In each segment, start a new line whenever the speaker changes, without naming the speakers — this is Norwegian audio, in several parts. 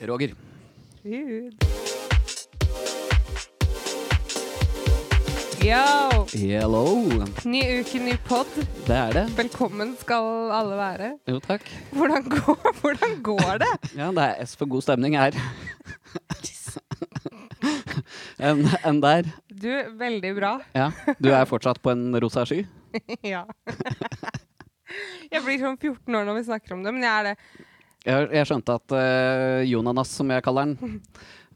Roger.
Yo!
Hello.
Ny uke, ny pod.
Det er det.
Velkommen skal alle være.
Jo, takk.
Hvordan går, hvordan går det?
Ja, det er S for god stemning her. Enn enn der.
Du, veldig bra.
Ja. Du er fortsatt på en rosa sky?
ja. Jeg blir sånn 14 år når vi snakker om det, men jeg er det.
Jeg, jeg skjønte at eh, Jonanas, som jeg kaller han,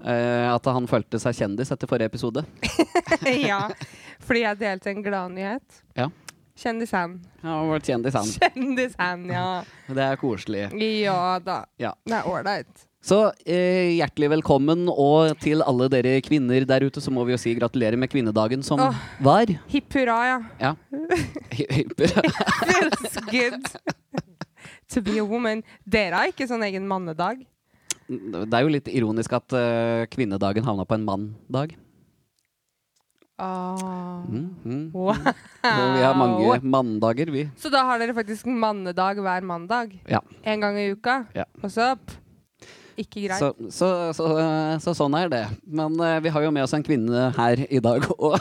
eh, at han følte seg kjendis etter forrige episode.
ja. Fordi jeg delte en gladnyhet.
Ja.
Kjendis-Ann.
Han har vært kjendis, han.
Kjendis-Ann, ja.
Det er koselig.
Ja da.
Ja.
Det er ålreit.
Så eh, hjertelig velkommen, og til alle dere kvinner der ute, så må vi jo si gratulerer med kvinnedagen som
Åh.
var.
Hipp hurra, ja.
Ja. Hyper.
Feels good to be a woman. Dere har ikke sånn egen mannedag.
Det er jo litt ironisk at eh, kvinnedagen havna på en manndag.
Ah.
Mm, mm.
Wow.
Så vi har mange manndager, vi.
Så da har dere faktisk mannedag hver mandag?
Ja.
En gang i uka?
Ja.
What's up? Ikke greit.
Så, så, så, eh, så sånn er det. Men eh, vi har jo med oss en kvinne her i dag, og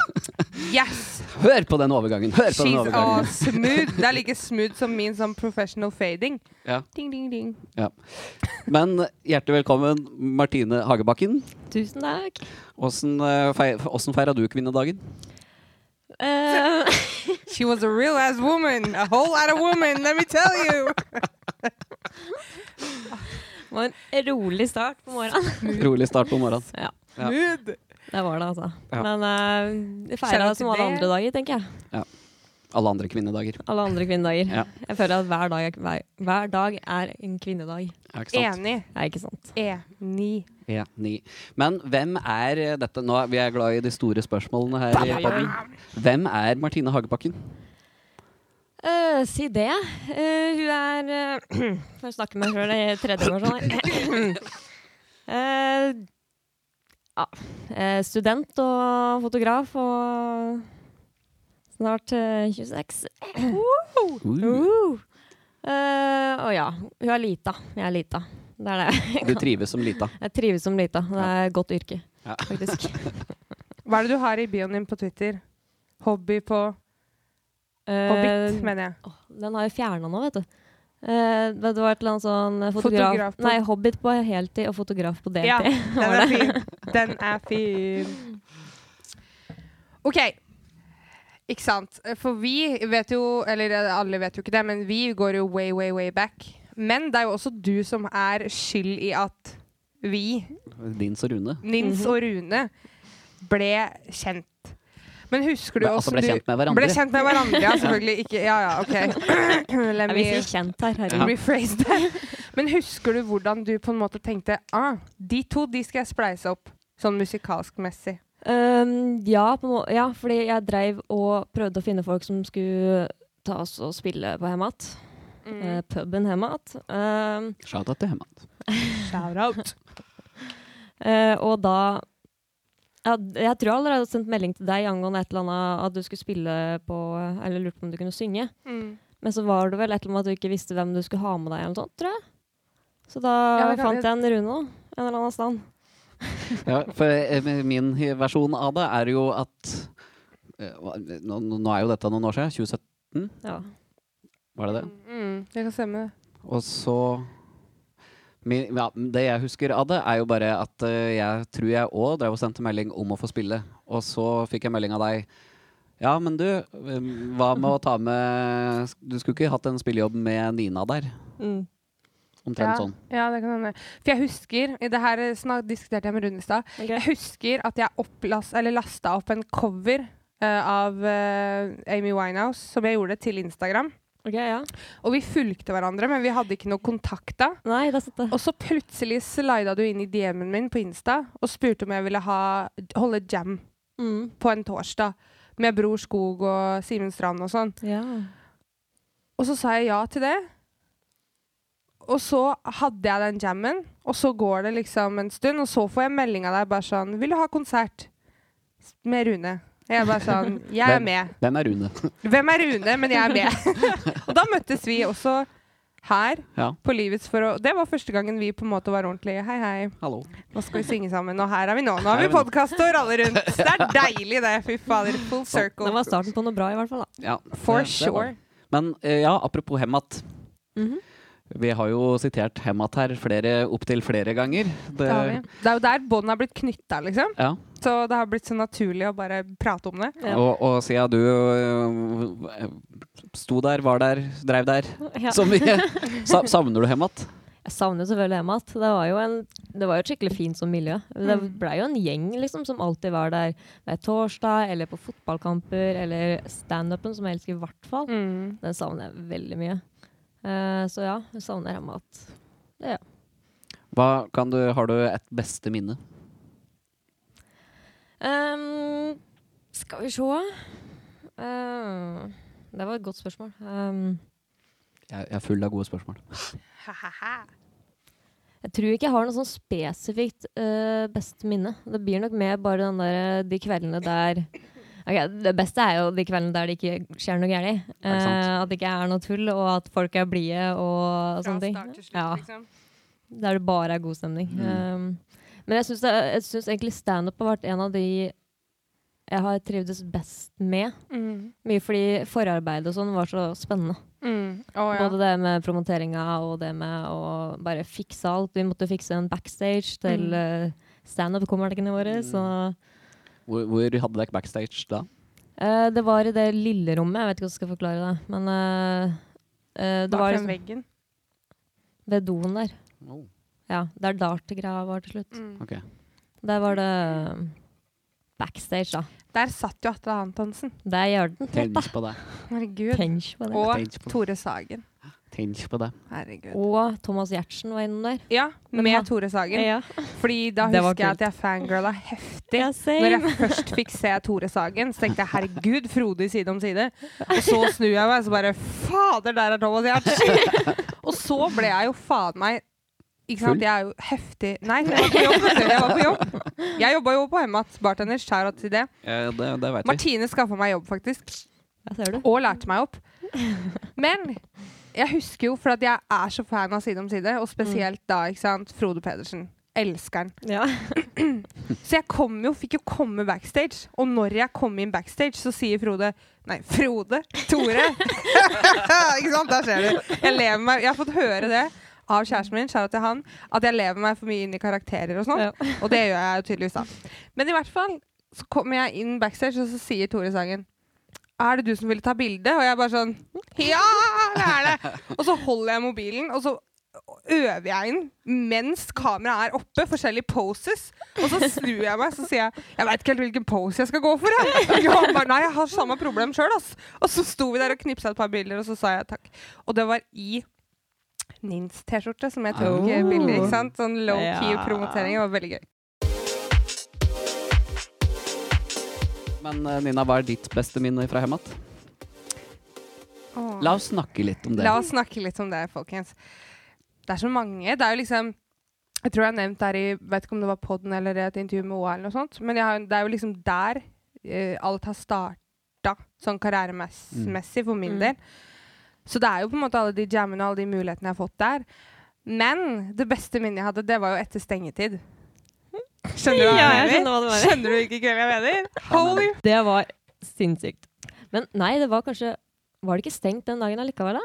Yes!
hør på den overgangen! Hør på den
She's all
overgangen.
smooth. Det er like smooth som min sånn professional fading.
Ja.
Ding, ding, ding.
Ja. Men hjertelig velkommen, Martine Hagebakken.
Tusen takk.
Åssen eh, fei- åssen feira du kvinnedagen?
Eh,
She was a real ass woman. A whole lot of woman, let me tell you.
det var en rolig start på morgenen.
Mm.
Rolig start på morgenen.
Ja,
Ja.
Smooth.
det var det, altså.
Ja.
Men uh,
Kjenner
feira
du
som
til
alle
det?
andre dager, tenker jeg.
Alle andre kvinnedager.
Alle andre kvinnedager.
Ja.
Jeg føler at hver dag, er- hver, hver dag er en kvinnedag.
Ja, ikke sant?
Enig. E
Nei, ikke sant?
Enig.
Ja, ni. Men hvem er eh, dette Nå er vi er glad i de store spørsmålene her. i podden. Hvem er Martine Hagebakken?
Eh, si det. Eh, hun er eh, Får jeg snakke med meg sjøl i tredje person her. Eh, ja. eh, student og fotograf og snart eh, 26.
Uh,
Uh. Eh, og ja, hun er lita. Jeg er lita. Det er det.
du trives som lita.
Jeg trives som lita. Det er et godt yrke,
Ja.
faktisk.
Hva er det du har i bioen din på Twitter? Hobby på Hobbit,
Eh,
mener jeg.
åh, den har jeg fjerna nå, vet du. Eh, det var et eller annet sånn fotograf,
Fotograf på-
Nei, hobbit på heltid og fotograf på deltid.
Ja, den
var
er
det.
fin. Den er fin. OK. Ikke sant. For vi vet jo Eller eh, alle vet jo ikke det, men vi går jo way, way, way back. Men det er jo også du som er skyld i at vi,
Din så Rune.
Mhm.
Nils og Rune, ble kjent. Men husker du
Ble- altså
åssen
ble
du
kjent med hverandre.
Ble kjent med hverandre, ja, selvfølgelig. Ikke Ja, ja, OK. Let
Jeg
me-
blir så kjent her.
ja.
herregud.
rephrase det. Men husker du hvordan du på en måte tenkte ah, de to de skal jeg spleise opp, sånn musikalsk messig?
Um, ja, på en må ja, fordi jeg dreiv og prøvde å finne folk som skulle ta oss og spille på hjemme igjen.
Mm.
Eh, puben hjemme igjen. Um,
Shout-out til Hemant.
Shout out.
Eh, og da ja, d- Jeg tror jeg allerede har sendt melding til deg angående et eller annet at du skulle spille på Eller lurte på om du kunne synge.
Mm.
Men så var det vel et eller annet at du ikke visste hvem du skulle ha med deg, eller noe sånt, tror jeg. Så da
Ja, det kan
fant
det-
jeg en Rune, da. En eller annen stand.
Ja, for eh, min versjon av det er jo at eh, hva- Nå, nå er jo dette noen år siden. 2017,
Ja.
var det det?
Mm. Det kan stemme.
Og så min, ja, Det jeg husker av det, er jo bare at eh, jeg tror jeg òg drev og sendte melding om å få spille. Og så fikk jeg melding av deg. Ja, men du, eh, hva med å ta med Du skulle ikke hatt en spillejobb med Nina der?
Mm.
Omtrent
ja.
sånn.
Ja, det kan hende. For jeg husker i det her eh, snak, diskuterte jeg med Rune i stad.
Ok.
Jeg husker at jeg opplas- eller lasta opp en cover eh, av eh, Amy Winehouse, som jeg gjorde til Instagram.
Ok, ja.
Og vi fulgte hverandre, men vi hadde ikke noe kontakt da.
Nei, der satt det.
Og så plutselig slida du inn i DM-en min på Insta og spurte om jeg ville ha, holde jam
Mm.
på en torsdag med Bror Skog og Simen Strand og sånn.
Ja.
Og så sa jeg ja til det. Og så hadde jeg den jammen, og så går det liksom en stund, og så får jeg melding av deg bare sånn 'Vil du ha konsert med Rune?' Og jeg bare sånn 'Jeg er
Hvem-
med'.
Hvem er Rune?
Hvem er Rune, men jeg er med. og da møttes vi også her
Ja.
på Livets for å Det var første gangen vi på en måte var ordentlig Hei, hei,
Hallo.
nå skal vi synge sammen. Og her er vi nå. Nå har
Her er
vi
vi nå.
podkast og raller rundt. Det er deilig, det. Fy fader. Full circle.
Det var starten på noe bra, i hvert fall. da.
Ja,
For
det- det var
sure.
det. Men eh, ja, apropos Hemat.
Mm-hmm.
Mhm.
Vi har jo sitert Hemat her flere, opptil flere ganger.
Det, har
Eh.
vi. det er jo der båndene har blitt knytta, liksom.
Ja,
Så det har blitt så naturlig å bare prate om det.
Ja.
Og, og siden du øh, sto der, var der, dreiv der
Ja.
så mye, sa, savner du Hemat?
Jeg savner jo selvfølgelig hjemme igjen. Det var jo en, det var jo et skikkelig fint sånn miljø. Det blei jo en gjeng liksom, som alltid var der hver torsdag, eller på fotballkamper, eller standupen, som jeg elsker i hvert fall.
Mm.
Den savner jeg veldig mye. Eh, så ja, jeg savner hjemme igjen.
Hva kan du, har du et beste minne?
Ehm, skal vi se Ehm, Det var et godt spørsmål. Ehm,
Jeg, jeg er full av gode spørsmål.
jeg tror ikke jeg har noe sånn spesifikt eh, beste minne. Det blir nok mer bare den der, eh, de kveldene der Ok, Det beste er jo de kveldene der det ikke skjer noe gærent.
Er det sant?
Eh, at det ikke er noe tull, og at folk er blide og sånne ting. sånn Ja.
liksom.
Der det bare er god stemning.
Mm.
Um, men jeg syns det- jeg syns egentlig standup har vært en av de jeg har trivdes best med.
Mm.
Mye fordi forarbeidet og sånn var så spennende.
Mm. Å, ja.
Både det med promoteringa og det med å bare fikse alt. Vi måtte fikse en backstage til
Mm.
mm. standup-kommerkene våre. Så
Hvor, hvor hadde dere backstage da?
eh, det var i det lille rommet. Jeg vet ikke hvordan jeg skal forklare det. Men eh, eh, det
Bak
var
den
liksom
veggen.
ved doen der.
Oh.
Ja, Der dartgreia var til slutt.
Mm.
Ok.
Der var det eh, backstage, da.
Der satt jo Atle Antonsen.
Det gjør den.
Tenk på det.
Herregud.
Tenk på det.
Og
Tenk på det.
Tore Sagen.
Tenk på det.
Herregud.
Og Thomas Giertsen var innom der.
Ja,
Men
med
han-
Tore Sagen.
Ja.
Fordi da
Det var
husker jeg at
kult.
jeg fangirla heftig.
Ja,
Når
same.
jeg først fikk se Tore Sagen, så tenkte jeg 'herregud, Frode i Side om side'. Og så snur jeg meg, og så bare 'fader, der er Thomas Giertsen'! og så ble jeg jo faen meg ikke sant?
Full?
Jeg er jo heftig Nei, jeg var på jobb. vet du. Jeg var på jobb. Jeg jobba jo på Hemmat bartender. Skjæra til det.
Eh, det det veit vi.
Martine skaffa meg jobb, faktisk.
Der ser du.
Og lærte meg opp. Men jeg husker jo, for at jeg er så fan av Side om side, og spesielt da, ikke sant, Frode Pedersen. Elsker han.
Ja.
Så jeg kom jo, fikk jo komme backstage. Og når jeg kom inn backstage, så sier Frode Nei, Frode! Tore! ikke sant? Der ser du. Jeg, lever meg, jeg har fått høre det av kjæresten min, kjære til han, at jeg lever meg for mye inn i karakterer og sånn.
Ja.
Og det gjør jeg jo tydeligvis, da. Men i hvert fall så kommer jeg inn backstage, og så sier Tore Sagen er det du som ville ta bilde? Og jeg bare sånn Ja, det er det! Og så holder jeg mobilen, og så øver jeg inn mens kameraet er oppe, forskjellige poses. Og så snur jeg meg så sier jeg Jeg veit ikke helt hvilken pose jeg skal gå for. Jeg. Og han bare, Nei, jeg har samme problem sjøl, ass. Og så sto vi der og knipsa et par bilder, og så sa jeg takk. Og det var i Nins T-skjorte, som jeg tok eh,
Oh.
bilder ikke sant? Sånn low-key
Ja.
promotering. Det var veldig gøy.
Men eh, Nina, hva er ditt beste minne fra Hemat? La oss snakke litt om det.
La oss snakke litt om det, folkens. Det er så mange. Det er jo liksom Jeg tror jeg har nevnt der i Vet ikke om det var podden eller et intervju med OA eller noe sånt, men jeg har, det er jo liksom der eh, alt har starta, sånn karrieremessig for min
Mm.
del. Så det er jo på en måte alle de jammene og alle de mulighetene jeg har fått der. Men det beste minnet jeg hadde, det var jo etter stengetid. Skjønner du hva
Ja, jeg
jeg
skjønner
mener?
hva du mener.
Skjønner du hvilken kveld jeg mener? Holy
Det var sinnssykt. Men nei, det var kanskje Var det ikke stengt den dagen allikevel, da?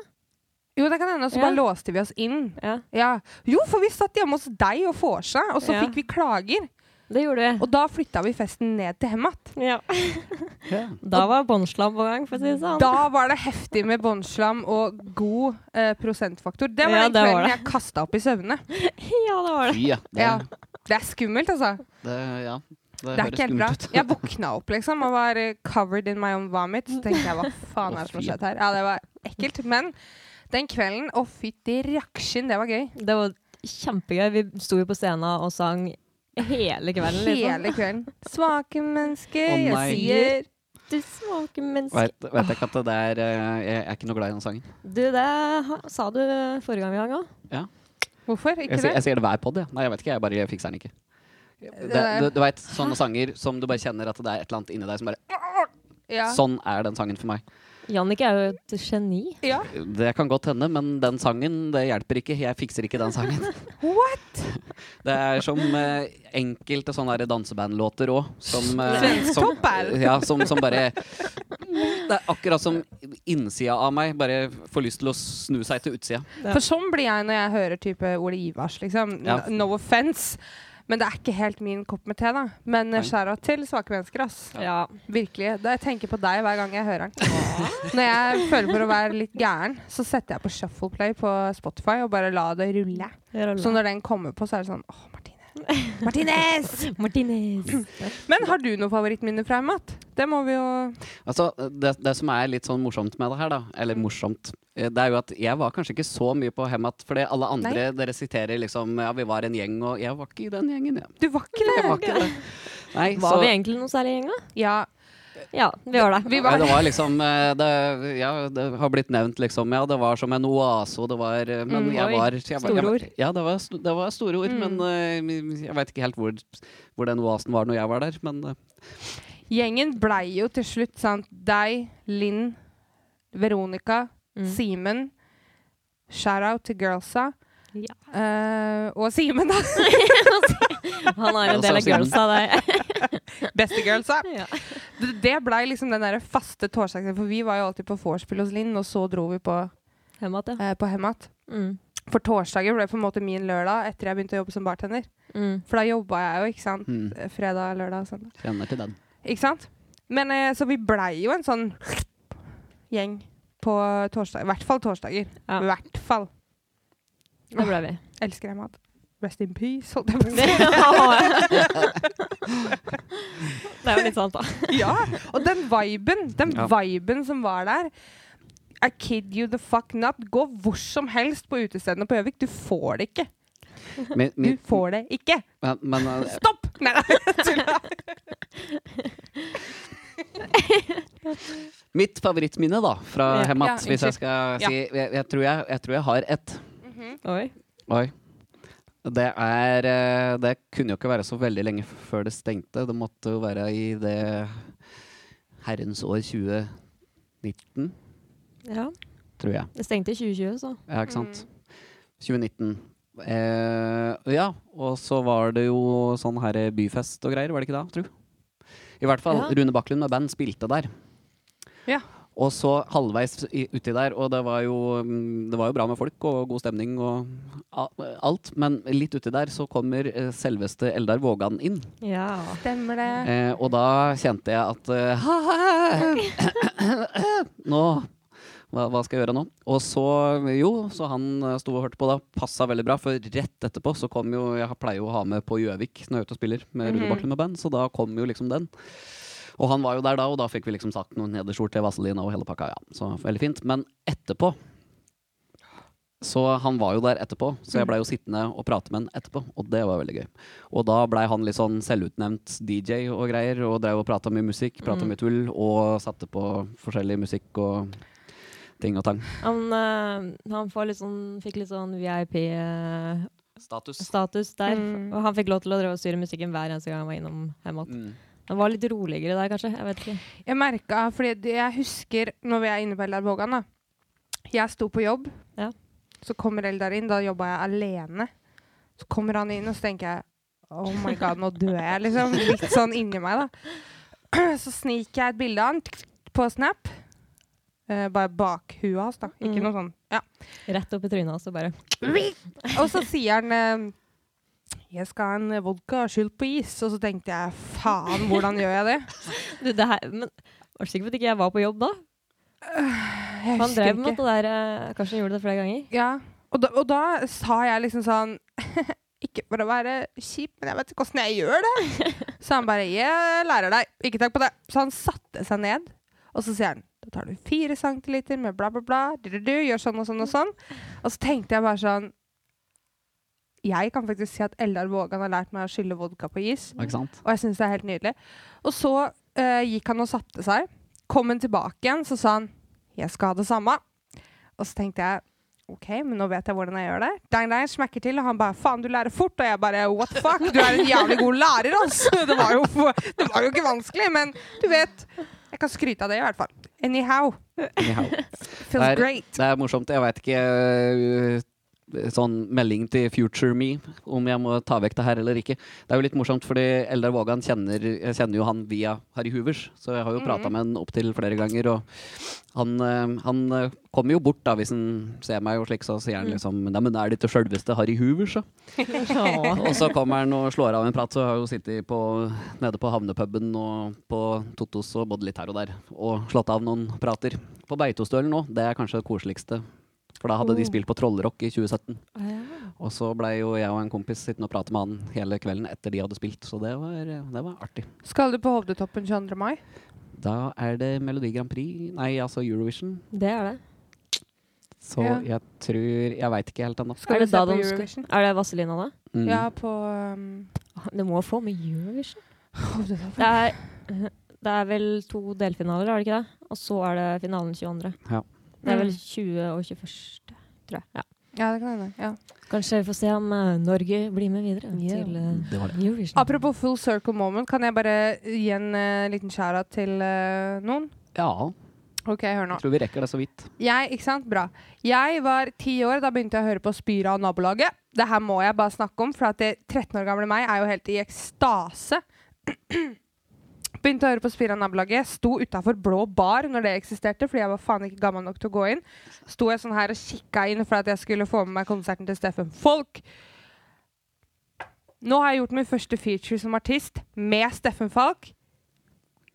Jo, det kan hende. Og så
Ja.
bare låste vi oss inn.
Ja,
Ja. Jo, for vi satt hjemme hos deg og vorsa, og så
Ja.
fikk vi klager.
det gjorde vi.
Og da flytta vi festen ned til Hemmat.
Ja.
Ja.
Da var båndslam på gang, for å si det sånn.
Da var det heftig med båndslam og god eh, prosentfaktor. Det var
Ja,
den
det var
kvelden
det.
jeg kasta opp i søvne.
Ja, det var det.
Fy, ja. Det,
Ja. Det er skummelt, altså.
det, ja. det,
Det, er
høres
ikke helt bra.
skummelt ut.
Jeg våkna opp liksom og var eh, covered in my own vomit. Så tenkte jeg hva faen er det som har skjedd her? Ja, det var ekkelt. Men den kvelden, å fytti rakkskinn, det var gøy.
Det var kjempegøy. Vi sto jo på scenen og sang hele kvelden. liksom.
Hele kvelden. Svake mennesker,
Å,
jeg
nei.
sier
Du smaker menneske...
Vet, vet jeg ikke at det der eh, Jeg er ikke noe glad i den sangen.
Du, det ha- sa du forrige gang vi hang òg.
Hvorfor?
Jeg,
Ikke
sier-
det?
jeg sier det hver pod, jeg. Nei, jeg vet ikke. Jeg bare jeg fikser den ikke. Det,
er-
du du veit sånne sanger som du bare kjenner at det er et eller annet inni deg som bare
Ja.
Sånn er den sangen for meg.
Jannicke er jo et geni.
Ja.
Det kan godt hende, men den sangen det hjelper ikke. Jeg fikser ikke den sangen.
What?
Det er som eh, enkelte sånne der dansebandlåter òg. Som, eh,
Svensk
som,
topper.
ja, som, som bare Det er akkurat som innsida av meg bare får lyst til å snu seg til utsida.
Ja.
For sånn blir jeg når jeg hører type Ole Ivars, liksom.
Ja.
No, no offense. Men det er ikke helt min kopp med te, da. Men
Nei.
skjæra til svake mennesker, ass.
Ja.
Virkelig. Da jeg tenker på deg hver gang jeg hører den. Når jeg føler for å være litt gæren, så setter jeg på shuffle play på Spotify og bare la det rulle.
Sånn
Så når den kommer på, så er det sånn Åh, Martine. Martinez!
Martinez.
Men har du noe favorittminne fra Emmat? Det må vi jo
Altså, det, det som er litt sånn morsomt med det her, da, eller morsomt, eh, det er jo at jeg var kanskje ikke så mye på Hemat, fordi alle andre dere siterer liksom Ja, vi var en gjeng, og jeg var ikke i den gjengen, jeg.
Du var ikke det!
jeg var ikke det. Nei,
Var
så-
vi egentlig noe særlig gjeng, da?
Ja.
Ja, vi var det.
Vi
Nei,
var
det var liksom eh, det, Ja, det har blitt nevnt, liksom. Ja, det var som en oase, og det var eh, Men
Mm,
jeg
oi.
var jeg, var- jeg,
Store
var-
ord.
Ja, det var, sto- det var store ord, men eh, jeg veit ikke helt hvor, hvor den oasen var når jeg var der. Men eh,
Gjengen blei jo til slutt sant? deg, Linn, Veronica,
Mm.
Simen. Shout-out til girlsa.
Ja.
Eh, og Simen, da!
Han er en del av
Girls
girlsa, det.
Beste girlsa.
Ja.
Det, det blei liksom den der faste torsdagen, for vi var jo alltid på vorspiel hos Linn, og så dro vi på,
Hjemme at, ja.
eh, på Hemat.
Mm.
For torsdager ble på en måte min lørdag etter jeg begynte å jobbe som bartender.
Mm.
For da jobba jeg jo, ikke sant. Eh,
hmm,
Fredag, lørdag, og søndag.
kjenner til den.
Ikke sant? Men eh, så vi blei jo en sånn gjeng på torsdag. I hvert fall torsdager.
Ja.
I hvert fall.
Det ble vi.
Elsker jeg mat. Rest in peace, holdt jeg på å si.
Det er jo litt sant, da.
Ja. Og den viben, den
Ja.
viben som var der I kid you the fuck not. Gå hvor som helst på utestedene på Gjøvik. Du får det ikke.
Min,
Du
min,
får det ikke.
men, men eh,
Stopp! Nei, nei, tulla.
mitt favorittminne, da, fra
Ja,
Hemat,
ja,
hvis jeg skal
Ja.
si jeg, jeg, tror jeg, jeg tror jeg har ett.
Oi.
Oi. Det er eh, Det kunne jo ikke være så veldig lenge f- før det stengte. Det måtte jo være i det herrens år 2019,
Ja.
tror jeg.
Det stengte i 2020, så.
Ja, ikke sant. 2019. Eh, ja, og så var det jo sånn her byfest og greier, var det ikke da, tru? I hvert fall.
Ja.
Rune Bakklund med band spilte der.
Ja.
Og så halvveis i- uti der, og det var, jo, mm, det var jo bra med folk og god stemning og a- alt, men litt uti der så kommer eh, selveste Eldar Vågan inn.
Ja.
Stemmer det.
Eh, og da kjente jeg at eh, Nå hva, hva skal jeg gjøre nå? Og så, jo, så han eh, sto og hørte på da. Passa veldig bra, for rett etterpå så kom jo Jeg pleier jo å ha med på Gjøvik når jeg er ute og spiller med Rune
Mhm.
Bakklund med band, så da kom jo liksom den. Og han var jo der da, og da fikk vi liksom sagt noen nederskjorte, vaselina og hele pakka. Ja, så veldig fint. Men etterpå så han var jo der etterpå, så jeg blei jo sittende og prate med han etterpå, og det var veldig gøy. Og da blei han litt sånn selvutnevnt DJ og greier, og drev og prata mye musikk, prata
Mm.
mye tull, og satte på forskjellig musikk og ting og tang.
Han, eh, han får litt sånn, fikk litt sånn VIP-status
Status.
der.
Mm.
Og han fikk lov til å drive og styre musikken hver eneste gang han var innom Hemat.
Mm.
Han var litt roligere der, kanskje. Jeg vet ikke.
Jeg merka, fordi det jeg husker når vi er inne på Eldar Vågan, da. Jeg sto på jobb,
Ja.
så kommer Eldar inn. Da jobba jeg alene. Så kommer han inn, og så tenker jeg Oh my god, nå dør jeg, liksom. Litt sånn inni meg, da. Så sniker jeg et bilde av han tuk, tuk, på Snap. Eh, bare bak huet hans, da. Ikke
Mm.
noe sånn. Ja.
Rett opp i trynet hans og bare
Og så sier han eh, jeg skal ha en vodka skylt på is. Og så tenkte jeg faen, hvordan gjør jeg det?
Du, det her Men var du sikker på at ikke jeg var på jobb da?
Jeg
Han
husker
drev
ikke.
med det der eh, Kanskje han gjorde det flere ganger?
Ja, og da, og da sa jeg liksom sånn Ikke for å være kjip, men jeg vet ikke åssen jeg gjør det. Så han bare Jeg lærer deg. Ikke takk på det. Så han satte seg ned, og så sier han Da tar du fire centiliter med bla, bla, bla. Du, du, du, gjør sånn og sånn og sånn. Og så tenkte jeg bare sånn Jeg kan faktisk si at Eldar Vågan har lært meg å skylle vodka på is.
Ikke sant?
Og jeg syns det er helt nydelig. Og så eh, gikk han og satte seg. Kom han tilbake igjen, så sa han 'jeg skal ha det samme'. Og så tenkte jeg OK, men nå vet jeg hvordan jeg gjør det. Dang, dang, smekker til, og han bare 'faen, du lærer fort'. Og jeg bare 'what the fuck, du er en jævlig god lærer', altså. Det var jo, det var jo ikke vanskelig, men du vet. Jeg kan skryte av det, i hvert fall. Anyhow.
Anyhow.
Feels
Der-
great.
Det er morsomt. Jeg veit ikke øh, Sånn melding til future me om jeg må ta vekk det her eller ikke. Det er jo litt morsomt, fordi Eldar Vågan kjenner Jeg kjenner jo han via Harry Hoovers, så jeg har jo prata med han opptil flere ganger. Og han, øh, han øh, kommer jo bort, da, hvis han ser meg og slik, så sier han liksom Nei, men er dette sjølveste Harry Hoovers, da? Og så kommer han og slår av en prat, så har jeg jo sittet på, nede på havnepuben og på Totos og både litt her og der, og slått av noen prater. På Beitostølen nå, det er kanskje det koseligste. For da hadde de
Oh.
spilt på Trollrock i 2017.
Ja.
Og så blei jo jeg og en kompis sittende og prate med han hele kvelden etter de hadde spilt, så det var, det var artig.
Skal du på Hovdetoppen 22. mai?
Da er det Melodi Grand Prix, nei altså Eurovision,
Det er det.
så
Ja.
jeg tror Jeg veit ikke helt ennå.
Skal
er det
vi se
da
på
de
Eurovision?
skal Er det Vazelina, da?
Mm.
Ja, på um,
Det må få med Eurovision.
Hovdetoppen.
Det er, eh, det er vel to delfinaler, er det ikke det? Og så er det finalen 22.
Ja.
Det er vel
Mm.
20. og 21., tror jeg. Ja.
Ja, det kan hende. Ja.
Kanskje vi får se om eh, Norge blir med videre
Ja.
til eh,
Det var det.
Eurovision.
Apropos full circle moment, kan jeg bare gi en eh, liten skjæra til eh, noen?
Ja,
OK, hør nå.
jeg tror vi rekker det så vidt.
Jeg, ikke sant? Bra. Jeg var ti år, da begynte jeg å høre på Spyra og nabolaget. Det her må jeg bare snakke om, for at det 13 år gamle meg er jo helt i ekstase. Begynte å høre på Spyra og nabolaget. Sto utafor Blå bar når det eksisterte, fordi jeg var faen ikke gammel nok til å gå inn. Sto jeg sånn her og kikka inn for at jeg skulle få med meg konserten til Steffen Folk. Nå har jeg gjort min første feature som artist med Steffen Falk.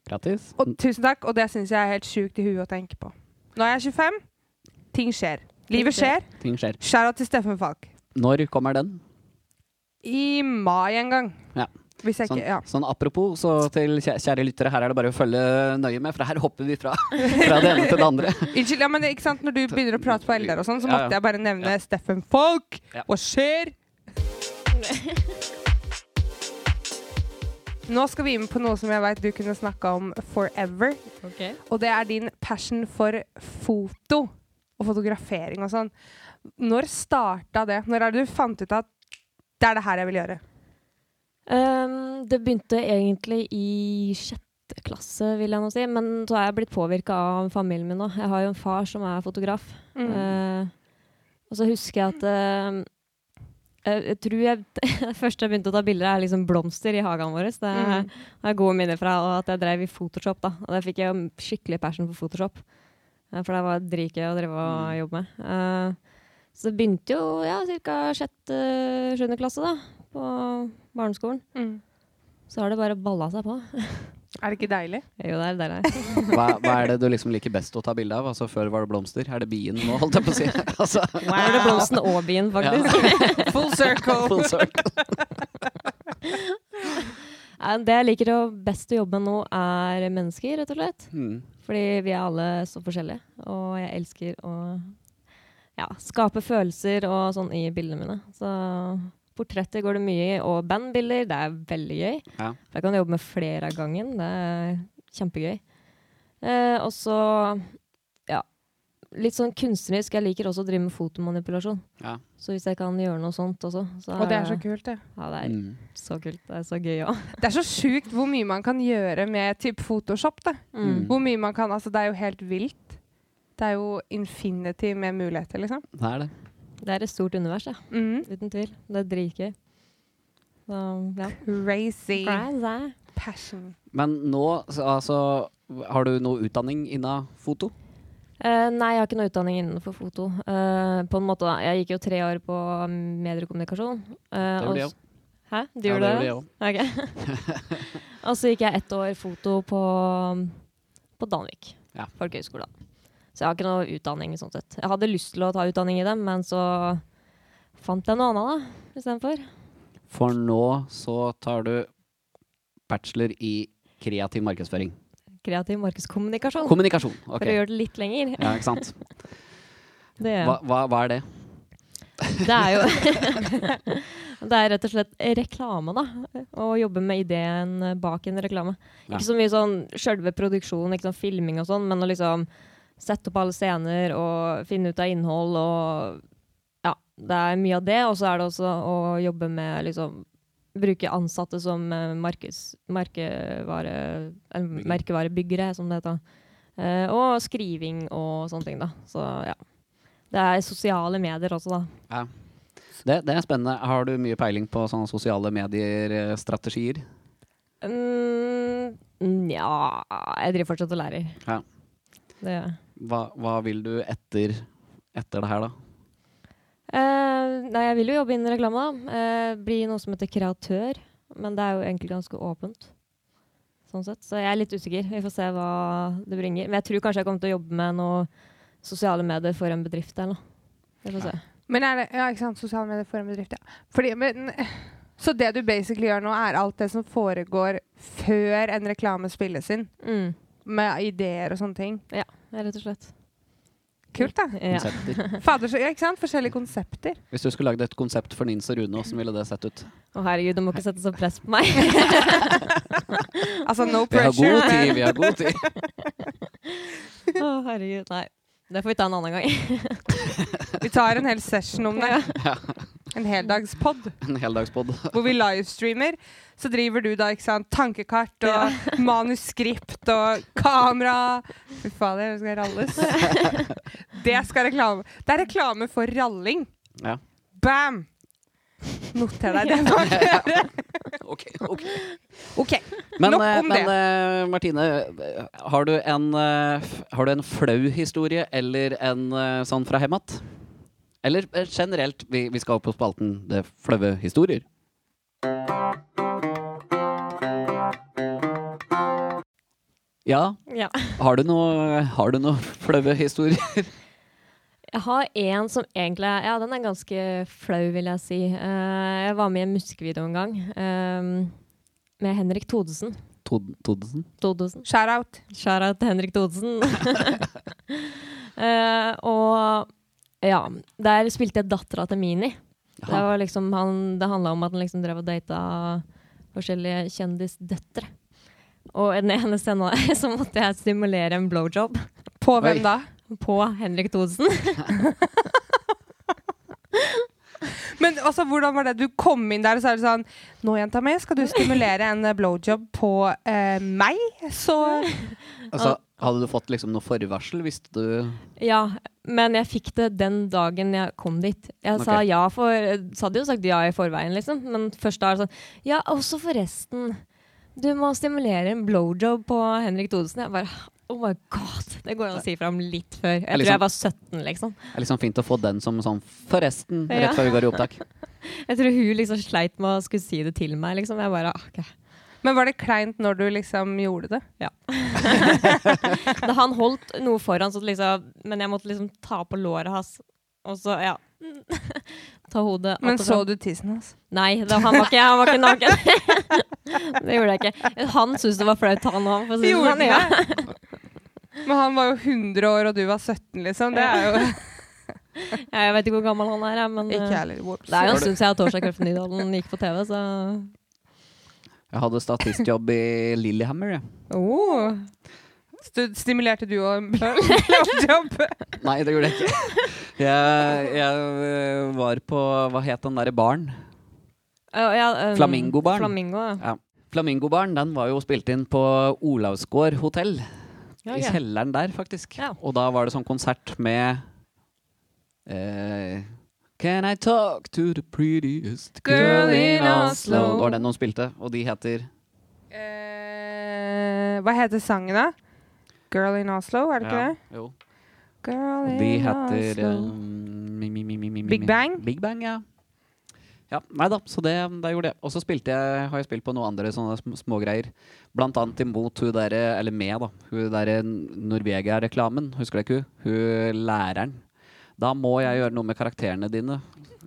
Grattis.
Og tusen takk, og det syns jeg er helt sjukt i huet å tenke på. Nå er jeg 25. Ting skjer. Livet skjer.
Ting skjer.
Skjæra til Steffen Falk.
Når kommer den?
I mai en gang.
Ja.
Hvis jeg
Sånn,
ikke Ja.
sånn apropos, så til kjæ- kjære lyttere, her er det bare å følge nøye med, for her hopper vi fra, fra det ene til det andre.
Unnskyld, ja, men ikke sant, når du begynner å prate på Eldar og sånn, så
Ja, ja.
måtte jeg bare nevne
Ja.
Steffen Falk.
Ja.
Hva skjer? Nå skal vi inn på noe som jeg veit du kunne snakka om forever. Og det er din passion for foto og fotografering og sånn. Når starta det? Når er det du fant ut at det er det her jeg vil gjøre?
Um, det begynte egentlig i sjette klasse, vil jeg nå si. Men så er jeg blitt påvirka av familien min nå. Jeg har jo en far som er fotograf.
Mm.
Eh, og så husker jeg at eh, jeg, jeg tror jeg det første jeg begynte å ta bilder, er liksom blomster i hagen vår. Det
Mm.
har jeg gode minner fra. Og at jeg drev i Photoshop. da. Og der fikk jeg jo skikkelig passion for Photoshop. Eh, For det var dritgøy å drive og jobbe med. Eh, så det begynte jo ja, ca. sjette-sjuende klasse da, på barneskolen.
Mm.
Så har det bare balla seg på.
Er det ikke deilig?
Jo, det er deilig.
Hva, hva er det du liksom liker best å ta bilde av? Altså, før var det blomster, er det bien nå, holdt jeg på å si? Altså,
Wow. Er det blomsten og bien, faktisk?
Full circle!
full circle.
Nei, Eh, Det jeg liker å best å jobbe med nå, er mennesker, rett og slett.
Mm.
Fordi vi er alle så forskjellige. Og jeg elsker å ja, skape følelser og sånn i bildene mine. Så portretter går det mye i, og bandbilder. Det er veldig gøy.
Ja.
For jeg kan jobbe med flere av gangen. Det er kjempegøy. Eh, og så ja, litt sånn kunstnerisk. Jeg liker også å drive med fotomanipulasjon.
Ja.
Så hvis jeg kan gjøre noe sånt også, så
Og det er så kult, det.
Ja, det er
Mm.
så kult. Det er så gøy òg.
Det er så sjukt hvor mye man kan gjøre med typ Photoshop. Det.
Mm.
Hvor mye man kan, altså det er jo helt vilt. Det er jo infinity med muligheter, liksom.
Det er det.
Det er et stort univers, ja.
Mm.
Uten tvil. Det er dritgøy. Så, ja.
Crazy
Crazy.
passion.
Men nå, så- altså, har du noe utdanning inna foto?
Eh, nei, jeg har ikke noe utdanning innenfor foto. Eh, på en måte da. Jeg gikk jo tre år på medier og kommunikasjon. Eh,
Det
og
gjorde jeg
s- Hæ? Du
Ja,
gjorde
det
det?
gjorde
Ok. og så gikk jeg ett år foto på, på Danvik
Ja.
folkehøgskole. da. Så jeg har ikke noe utdanning sånn sett. Jeg hadde lyst til å ta utdanning i det, men så fant jeg noe annet da, istedenfor.
For nå så tar du bachelor i kreativ markedsføring.
Kreativ markedskommunikasjon.
Kommunikasjon.
Oh. For
Ok.
å gjøre det litt lenger.
Ja, ikke sant.
Det gjør jeg.
Hva, hva, hva er det?
Det er jo Det er rett og slett reklame, da. Å jobbe med ideen bak en reklame.
Ja.
Ikke så mye sånn sjølve produksjonen, ikke sånn filming og sånn, men å liksom sette opp alle scener og finne ut av innhold og Ja, det er mye av det. Og så er det også å jobbe med liksom Bruke ansatte som eh, markeds, merkevare, eller
Bygger.
merkevarebyggere, som det heter. Eh, og skriving og sånne ting, da. Så ja. Det er sosiale medier også, da.
Det, det er spennende. Har du mye peiling på sånne sosiale eh, medier-strategier?
Mm, Nja Jeg driver fortsatt og lærer.
Ja.
Det gjør jeg.
Hva, hva vil du etter, etter det her, da?
Eh, nei, jeg vil jo jobbe innen reklame, da. Eh, bli noe som heter kreatør. Men det er jo egentlig ganske åpent. Sånn sett. Så jeg er litt usikker. Vi får se hva det bringer. Men jeg tror kanskje jeg kommer til å jobbe med noe sosiale medier for en bedrift eller noe. Vi får se.
Men er det Ja, ikke sant. Sosiale medier for en bedrift, ja. Fordi, men, så det du basically gjør nå, er alt det som foregår før en reklame spilles inn?
Mm.
Med ideer og sånne ting?
Rett og slett.
Kult, da.
Ja.
Konsepter?
Fader, så, ja, ikke sant? Forskjellige konsepter.
Hvis du skulle lagd et konsept for Nins og Rune, hvordan ville det sett ut?
Å herregud, du må ikke sette så press på meg.
Altså no
Vi har
pressure.
god tid,
men-
vi har god tid!
Å herregud, nei. Det får vi ta en annen gang.
Vi tar en hel session om det. En heldagspod
En heldagspod.
hvor vi livestreamer. Så driver du da, ikke sant, tankekart og manuskript og kamera. Fy fader, det skal ralles. Det skal reklame. Det er reklame for ralling.
Ja.
Bam! Noter deg det. Mark.
Ok, ok.
OK.
Men,
Nok
eh,
om
men eh, Martine, eh, har du, en, eh, f- har du en flau historie eller en eh, sånn fra hjemmet? Eller eh, generelt, vi, vi skal opp på spalten Det er flaue historier. Ja,
Ja.
har du noe, har du noe flaue historier?
Jeg har en som egentlig er- Ja, den er ganske flau, vil jeg si. Eh, jeg var med i en musikkvideo en gang eh, med Henrik Thodesen.
Tod Todesen?
Thodesen.
Shout-out.
Skjæra til Henrik Thodesen. Eh, og ja, der spilte jeg dattera til Mini. Det,
Jaha.
var liksom han, det handla om at han liksom drev og data forskjellige kjendisdøtre. Og i den ene scenen så måtte jeg simulere en blowjob
På
Oi.
hvem da?
på Henrik Thodesen.
Men altså, hvordan var det? Du kom inn der, og så er det sånn Nå, jenta mi, skal du stimulere en eh, blowjob på eh, meg? Så
Altså, hadde du fått liksom noe forvarsel? Visste du
Ja, men jeg fikk det den dagen jeg kom dit. Jeg sa
Ok.
ja for Så hadde jeg jo sagt ja i forveien, liksom. Men først da er det sånn Ja, også forresten. Du må stimulere en blowjob på Henrik Thodesen. Jeg bare Oh my god! Det går an å si fra om litt før. Jeg
er liksom-
tror jeg var 17, liksom.
Det er liksom fint å få den som sånn Forresten,
Ja.
rett før vi går i opptak.
Jeg tror hun liksom sleit med å skulle si det til meg, liksom. Jeg bare ah, ok.
Men var det kleint når du liksom gjorde det?
Da han holdt noe foran, så det liksom, men jeg måtte liksom ta på låret hans. Og så, ja Ta hodet
Men
opp og fram.
så du tissen hans?
Nei, da, han, var ikke, han var ikke naken. det gjorde jeg ikke. Han syntes det var flaut, han òg. Si det sånn, ja.
Men han var jo 100 år, og du var 17, liksom. Det er jo
Ja, Jeg vet ikke hvor gammel han er, jeg, men
ikke jeg
eh,
heller. Whoops.
det er
Var
jo en
det-
stund siden jeg og Torsdag Krøffen Nydalen gikk på TV, så
Jeg hadde statistjobb i Lillehammer, jeg.
Oh. Stu- Stimulerte du òg en blowjob?
Nei, det gjorde jeg ikke. Jeg, jeg øh, var på Hva het den derre baren?
Eh, ja, um,
Flamingobarn.
Flamingo, ja.
Flamingobaren den var jo spilt inn på Olavsgård hotell.
Ja,
I
ok.
kjelleren der, faktisk.
Ja.
Og da var det sånn konsert med eh, Can I talk to the prettiest girl in Oslo? Det var den de spilte, og de heter
Eh, hva heter sangen, da? Girl in Oslo, er det ikke
Ja,
det?
Jo.
Girl
Og
in
de heter
Oslo.
um, mi, mi, mi, mi, mi, mi,
Big
mi.
Bang?
Big Bang, ja. Ja, Nei da, så det, det gjorde jeg. Og så spilte jeg, har jeg spilt på noen andre sånne sm- smågreier. Blant annet imot hun derre, eller med, da. Hun derre Norvegia-reklamen. Husker du ikke hun? Hun læreren. Da må jeg gjøre noe med karakterene dine.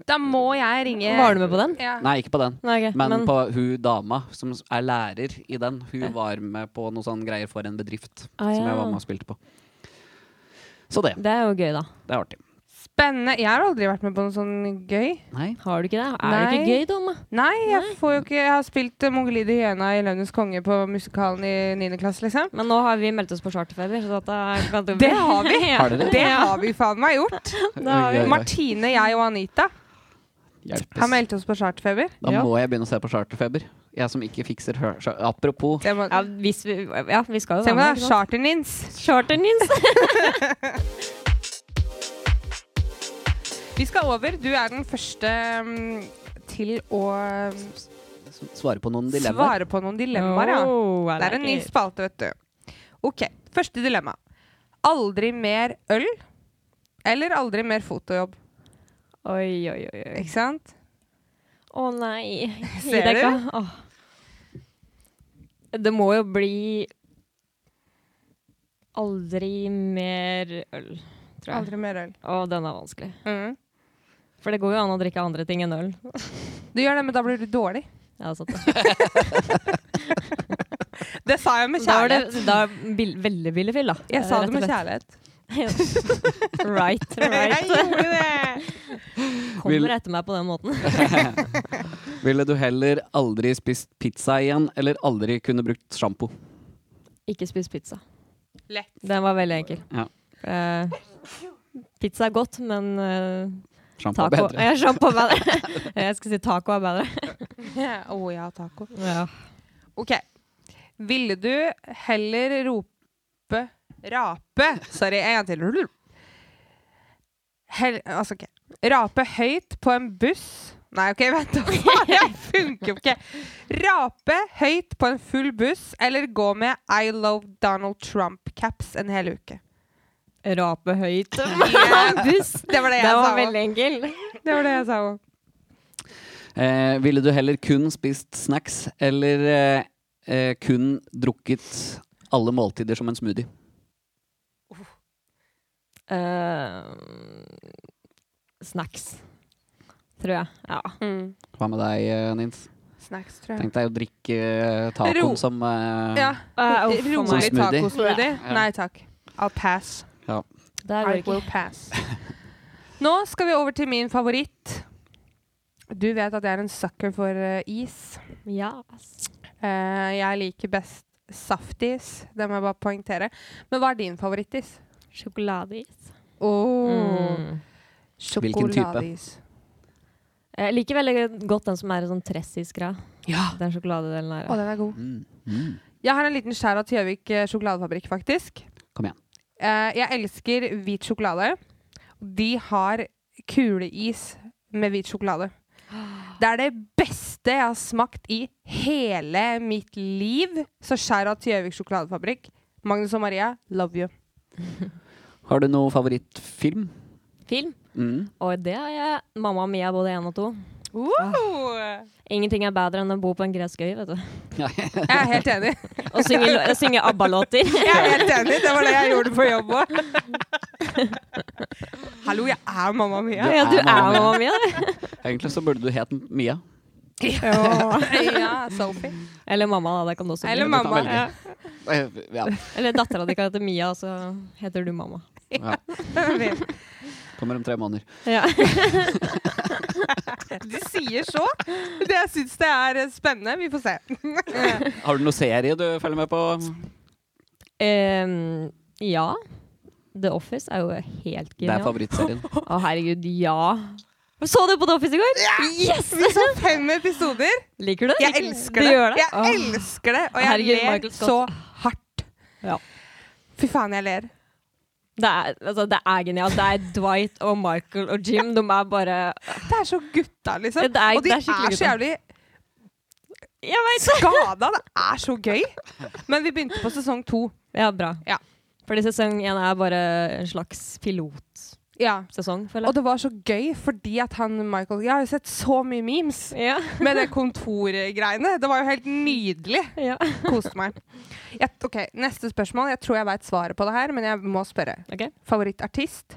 Da må jeg ringe
Var du med på den?
Ja.
Nei, ikke på den.
Nei, ok,
Men,
men-
på hun dama som s- er lærer i den. Hun var med på noe sånn greier for en bedrift
Ah,
som jeg
ja.
var med og spilte på. Så det.
Det er jo gøy, da.
Det er artig.
Spennende. Jeg har aldri vært med på noe sånn gøy.
Nei.
Har du ikke det? Er det
Nei.
ikke gøy, Donna?
Nei, jeg, Får jo ikke, jeg har spilt eh, Mongolid i Hyena i Lønnes konge på musikalen i 9. klasse, liksom.
Men nå har vi meldt oss på charterfeber, så at da kan du
Det har vi.
Ja.
Har dere det?
Det har vi faen meg gjort.
Oi, oi, oi.
Martine, jeg og Anita.
Hjelpes.
Han meldte oss på charterfeber.
Da
Ja.
må jeg begynne å se på charterfeber. Jeg som ikke fikser hø- char- Apropos
Se på
Ja, hvis vi, ja, vi skal jo
se på deg,
være med, ikke sant?
charternins.
Charteren din.
Vi skal over. Du er den første mm, til å mm,
s- svare på noen dilemmaer.
svare på noen dilemmaer, ja.
Oh, I
Det er en ny
like it.
spalte, vet du. OK. Første dilemma. Aldri mer øl eller aldri mer fotojobb.
Oi, oi, oi. oi.
Ikke sant?
Å nei.
Ser
Gidder
du?
ikke. Åh. Det må jo bli aldri mer øl, tror jeg.
Aldri mer øl.
Å, den er vanskelig.
Mm.
For det går jo an å drikke andre ting enn øl.
Du gjør det, men da blir du dårlig.
Ja, sant det.
Det sa jeg med
Da er det
kjærlighet.
da er bil, veldig billig fyll, da.
Jeg sa det med kjærlighet.
kjærlighet. right,
Jeg
right.
gjorde det!
Vil-
Kommer etter meg på den måten.
Ville du heller aldri spist pizza igjen, eller aldri kunne brukt sjampo?
Ikke spis pizza.
Lett.
Den var veldig enkel.
Ja.
Eh, pizza er godt, men eh,
Sjampo er
taco
bedre.
Ja, Sjampo er bedre. Jeg skal si taco er bedre.
Å ja, taco.
Ja.
OK. Ville du heller rope Rape. Sorry, en gang til. Hell, altså, ok. Rape høyt på en buss Nei, OK, vent. da. Det funker jo ikke. Rape høyt på en full buss eller gå med I love Donald Trump-caps en hel uke.
Rape høyt.
buss. Det var det jeg
Den var
sa.
veldig enkel.
også. Det var det jeg sa. også.
Eh, ville du heller kun spist snacks, eller eh, eh, kun drukket alle måltider som en smoothie?
Eh, snacks, tror jeg. Ja.
Hva med deg, eh, Nins?
Snacks, tror jeg.
Tenk deg å drikke eh, tacoen
Ro-
som eh,
Ja.
Eh, uff,
Rolig
for meg.
Som Sånn smoothie.
tacosmoothie?
Ja.
Nei takk. I'll pass.
Det går
I
ikke.
will pass. Nå skal vi over til min favoritt. Du vet at jeg er en sucker for eh, is.
Ja.
Eh, jeg liker best saftis. Det må jeg bare poengtere. Men hva er din favorittis?
Sjokoladeis.
Oh,
Mm.
Hvilken type?
sjokoladeis.
Jeg liker veldig godt den som er i sånn tressisgreie.
Ja.
Den sjokoladedelen der.
Å, den er god.
Mm, mm.
Jeg har en liten skjær av Gjøvik eh, sjokoladefabrikk, faktisk.
Kom igjen.
Eh, jeg elsker hvit sjokolade. De har kuleis med hvit sjokolade. Det er det beste jeg har smakt i hele mitt liv. Så skjær av Gjøvik sjokoladefabrikk. Magnus og Maria, love you.
Har du noe favorittfilm?
Film.
Mm.
Og det er jeg. Mamma og Mia både én og to.
Ah.
Ingenting er bedre enn å bo på en gresk øy, vet du.
Jeg er helt enig.
Og synge, lo- synge ABBA-låter.
Jeg er helt enig. Det var det jeg gjorde på jobb òg. Hallo, jeg er mamma mia.
Ja, du er Mamma Mia.
Egentlig så burde du het Mia.
Ja, Sophie.
Eller mamma, da. Det kan du også bli.
Eller
du kan
mamma.
velge.
Ja,
Eh, Ja,
Eller dattera di kan hete Mia, og så heter du mamma.
ja.
fint.
Kommer om tre måneder.
Ja.
De sier så. Det jeg syns det er eh, spennende. Vi får se.
Har du noe serie du følger med på?
ja. The Office er jo helt
Det er
genial.
favorittserien.
Å, herregud, ja. Så du på The Office i går? Yes!
Vi så fem episoder.
Liker du det?
Jeg
Liker-
elsker
Du
det.
gjør det?
Jeg
Åh.
elsker det, og jeg
Herregud,
ler
Michael Scott.
så hardt.
Ja.
Fy faen, jeg ler.
Det er, altså, det er genialt. Det er Dwight og Michael og Jim. De er bare
Det er så gutta, liksom.
Det er-
og de
det
er,
er skikkelig
så jævlig
Jeg vet det!
skada. Det er så gøy. Men vi begynte på sesong to.
Ja, bra.
Ja.
Fordi sesong én er bare en slags pilotsesong,
Ja.
føler
Og
jeg.
det var så gøy fordi at han Michael Jeg har jo sett så mye memes
Ja.
med det kontorgreiene. Det var jo helt nydelig.
ja.
Koste meg. Jeg, ok, Neste spørsmål. Jeg tror jeg veit svaret på det her, men jeg må spørre.
Ok.
Favorittartist?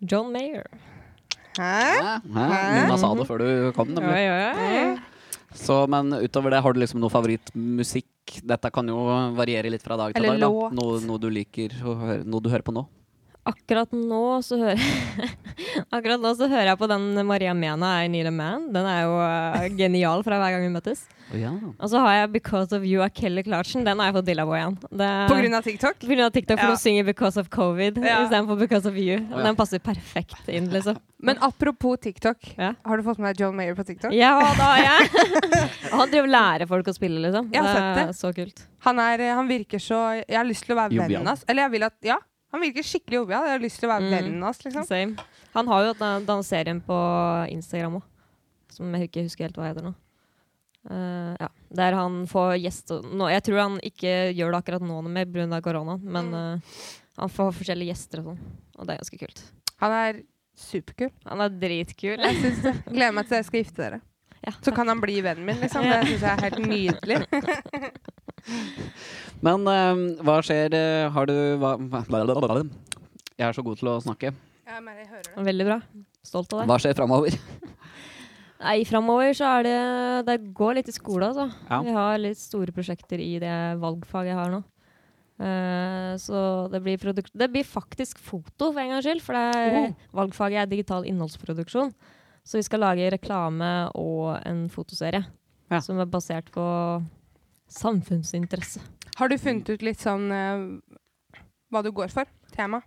John Mayer.
Hæ?
Hæ?
Nina sa det før du kom, nemlig. Så, men utover det, har du liksom noe favorittmusikk? Dette kan jo variere litt fra dag til
Eller
dag.
låt.
Da. Noe, noe du liker å høre, noe du hører på nå.
Akkurat nå så hører Akkurat nå så hører jeg på den Maria Mena er Need a Man. Den er jo eh, genial fra hver gang vi møttes.
Å ja.
Og så har jeg Because of You av Kelly Clarkson. Den har jeg fått dilla på igjen. Det-
På grunn av TikTok?
på grunn av TikTok, for
Ja.
hun synger 'Because of Covid'
Ja.
istedenfor 'Because of You'.
Å, ja.
Den passer perfekt inn, liksom.
Men apropos TikTok.
Ja.
Har du fått med deg John Mayer på TikTok?
Ja da, jeg! Han driver og lærer folk å spille, liksom.
Jeg har sett
det er så kult.
Han, er, eh, han virker så Jeg har lyst til å være
Jovial.
vennen hans. Eller jeg vil at Ja, han virker skikkelig jovial. Jeg har lyst til å være
Mm.
vennen hans, liksom.
Same. Han har jo den, den serien på Instagram òg, som jeg ikke husker helt hva heter nå. Eh, ja. Der han får gjester nå, Jeg tror han ikke gjør det akkurat nå noe mer pga. korona, men
Mm.
eh, han får forskjellige gjester og sånn. Og det er ganske kult.
Han er superkul.
Han er dritkul.
Jeg synes det. Gleder meg til dere skal gifte dere.
Ja.
Så kan han bli vennen min, liksom. Det syns jeg er helt nydelig.
Men eh, hva skjer eh, Har du hva, hva- Jeg er så god til å snakke.
Jeg mener, jeg hører
Veldig bra. Stolt av deg.
Hva skjer framover?
Nei, framover så er det Det går litt i skole, altså.
Ja.
Vi har litt store prosjekter i det valgfaget jeg har nå. Eh, så det blir, produk- det blir faktisk foto, for en gangs skyld. For det er,
Oh.
valgfaget er digital innholdsproduksjon. Så vi skal lage reklame og en fotoserie
Ja.
som er basert på samfunnsinteresse.
Har du funnet ut litt sånn eh, hva du går for? Tema?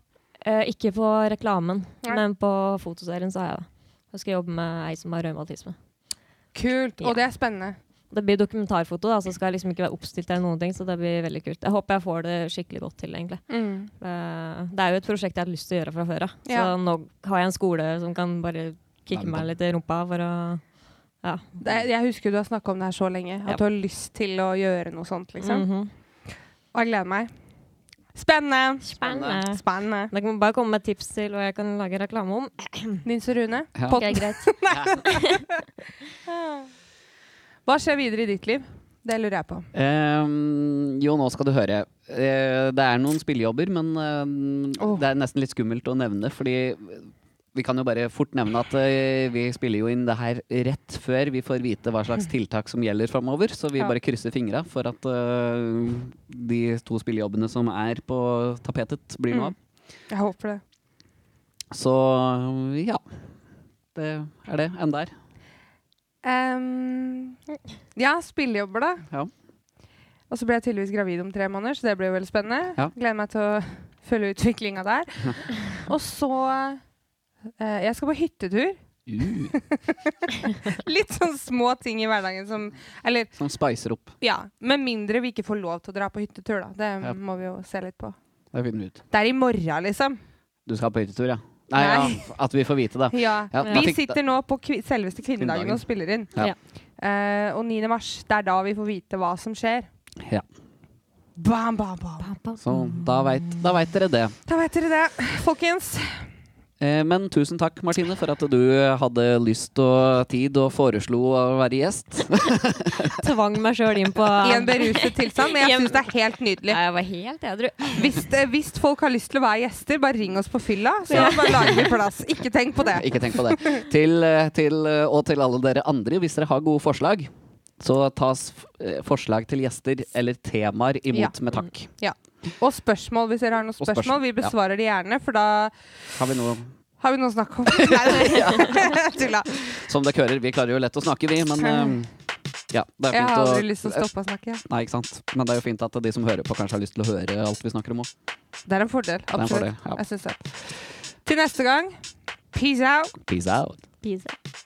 Eh, ikke på reklamen,
Nei.
men på fotoserien så har jeg det. Jeg skal jobbe med ei som har revmatisme.
Kult.
Ja.
Og det er spennende.
Det blir dokumentarfoto, da, så det skal liksom ikke være oppstilt eller noen ting. Så det blir veldig kult. Jeg håper jeg får det skikkelig godt til, egentlig.
Mm.
Det, Eh, det er jo et prosjekt jeg har lyst til å gjøre fra før av. Så
Ja.
nå har jeg en skole som kan bare
Nei,
kicke
men-
meg litt i rumpa for å Ja.
Det, er- jeg husker du har snakka om det her så lenge, at
Ja.
du har lyst til å gjøre noe sånt. liksom.
Mhm.
Og jeg gleder meg. Spennende!
Spennende.
Spennende.
Dere må bare komme med tips til hva jeg kan lage reklame om.
Nils og Rune,
Mm. Ja.
Pod-
Ok, greit.
hva skjer videre i ditt liv? Det lurer jeg på.
Ehm, jo, nå skal du høre. Eh, det er noen spillejobber, men ehm,
Åh.
det er nesten litt skummelt å nevne, fordi vi kan jo bare fort nevne at eh, vi spiller jo inn det her rett før vi får vite hva slags tiltak som gjelder framover, så vi
Ja.
bare krysser fingra for at eh, de to spillejobbene som er på tapetet, blir
Mm.
noe av.
Jeg håper det.
Så ja. Det er det. Enn der.
Ehm, ja, spillejobber, da.
Ja.
Og så ble jeg tydeligvis gravid om tre måneder, så det blir jo veldig spennende.
Ja.
Gleder meg til å følge utviklinga der. Og så eh, Jeg skal på hyttetur.
Uh,
Litt sånn små ting i hverdagen som Eller
som spicer opp.
ja, med mindre vi ikke får lov til å dra på hyttetur, da. Det
Ja.
må vi jo se litt på.
Det finner vi ut.
Det er i morgen, liksom.
Du skal på hyttetur, ja? Nei, Ja, at vi får vite det.
Ja.
Ja, da
Vi
fikk-
sitter nå på kvi selveste kvinnedagen
Kvinnedagen.
og spiller inn.
Ja.
Ja.
Eh, og 9. mars, det er da vi får vite hva som skjer.
Ja.
Bam, bam, bam.
Så da veit, da vet dere det.
Da vet dere det, folkens.
Eh, Men tusen takk, Martine, for at du hadde lyst og tid og foreslo å være gjest.
Tvang meg sjøl inn på
I en beruset tilstand, men jeg
Hjem-
syns det er helt nydelig.
Nei, Jeg var helt edru.
Hvis, eh, hvis folk har lyst til å være gjester, bare ring oss på fylla, så bare lager vi plass. Ikke tenk på det.
Ikke tenk på det. Til, eh, til, eh, og til alle dere andre, hvis dere har gode forslag, så tas f- eh, forslag til gjester eller temaer imot med takk.
Og spørsmål, hvis dere har noen
Og spørsmål,
spørsmål. Vi
ja.
besvarer de gjerne, for da
Har vi noe
har vi noe å snakke om. Nei, tulla.
Som dere hører, vi klarer jo lett å snakke, vi, men eh, ja, det er
Mm. Jeg
fint
har
å
aldri lyst til å stoppe å snakke. Ja.
Nei, ikke sant. Men det er jo fint at de som hører på, kanskje har lyst til å høre alt vi snakker om òg.
Det er en
er
fordel.
en
Absolutt.
fordel, ja.
Jeg syns det. Til neste gang, peace out.
Peace out.
Pise.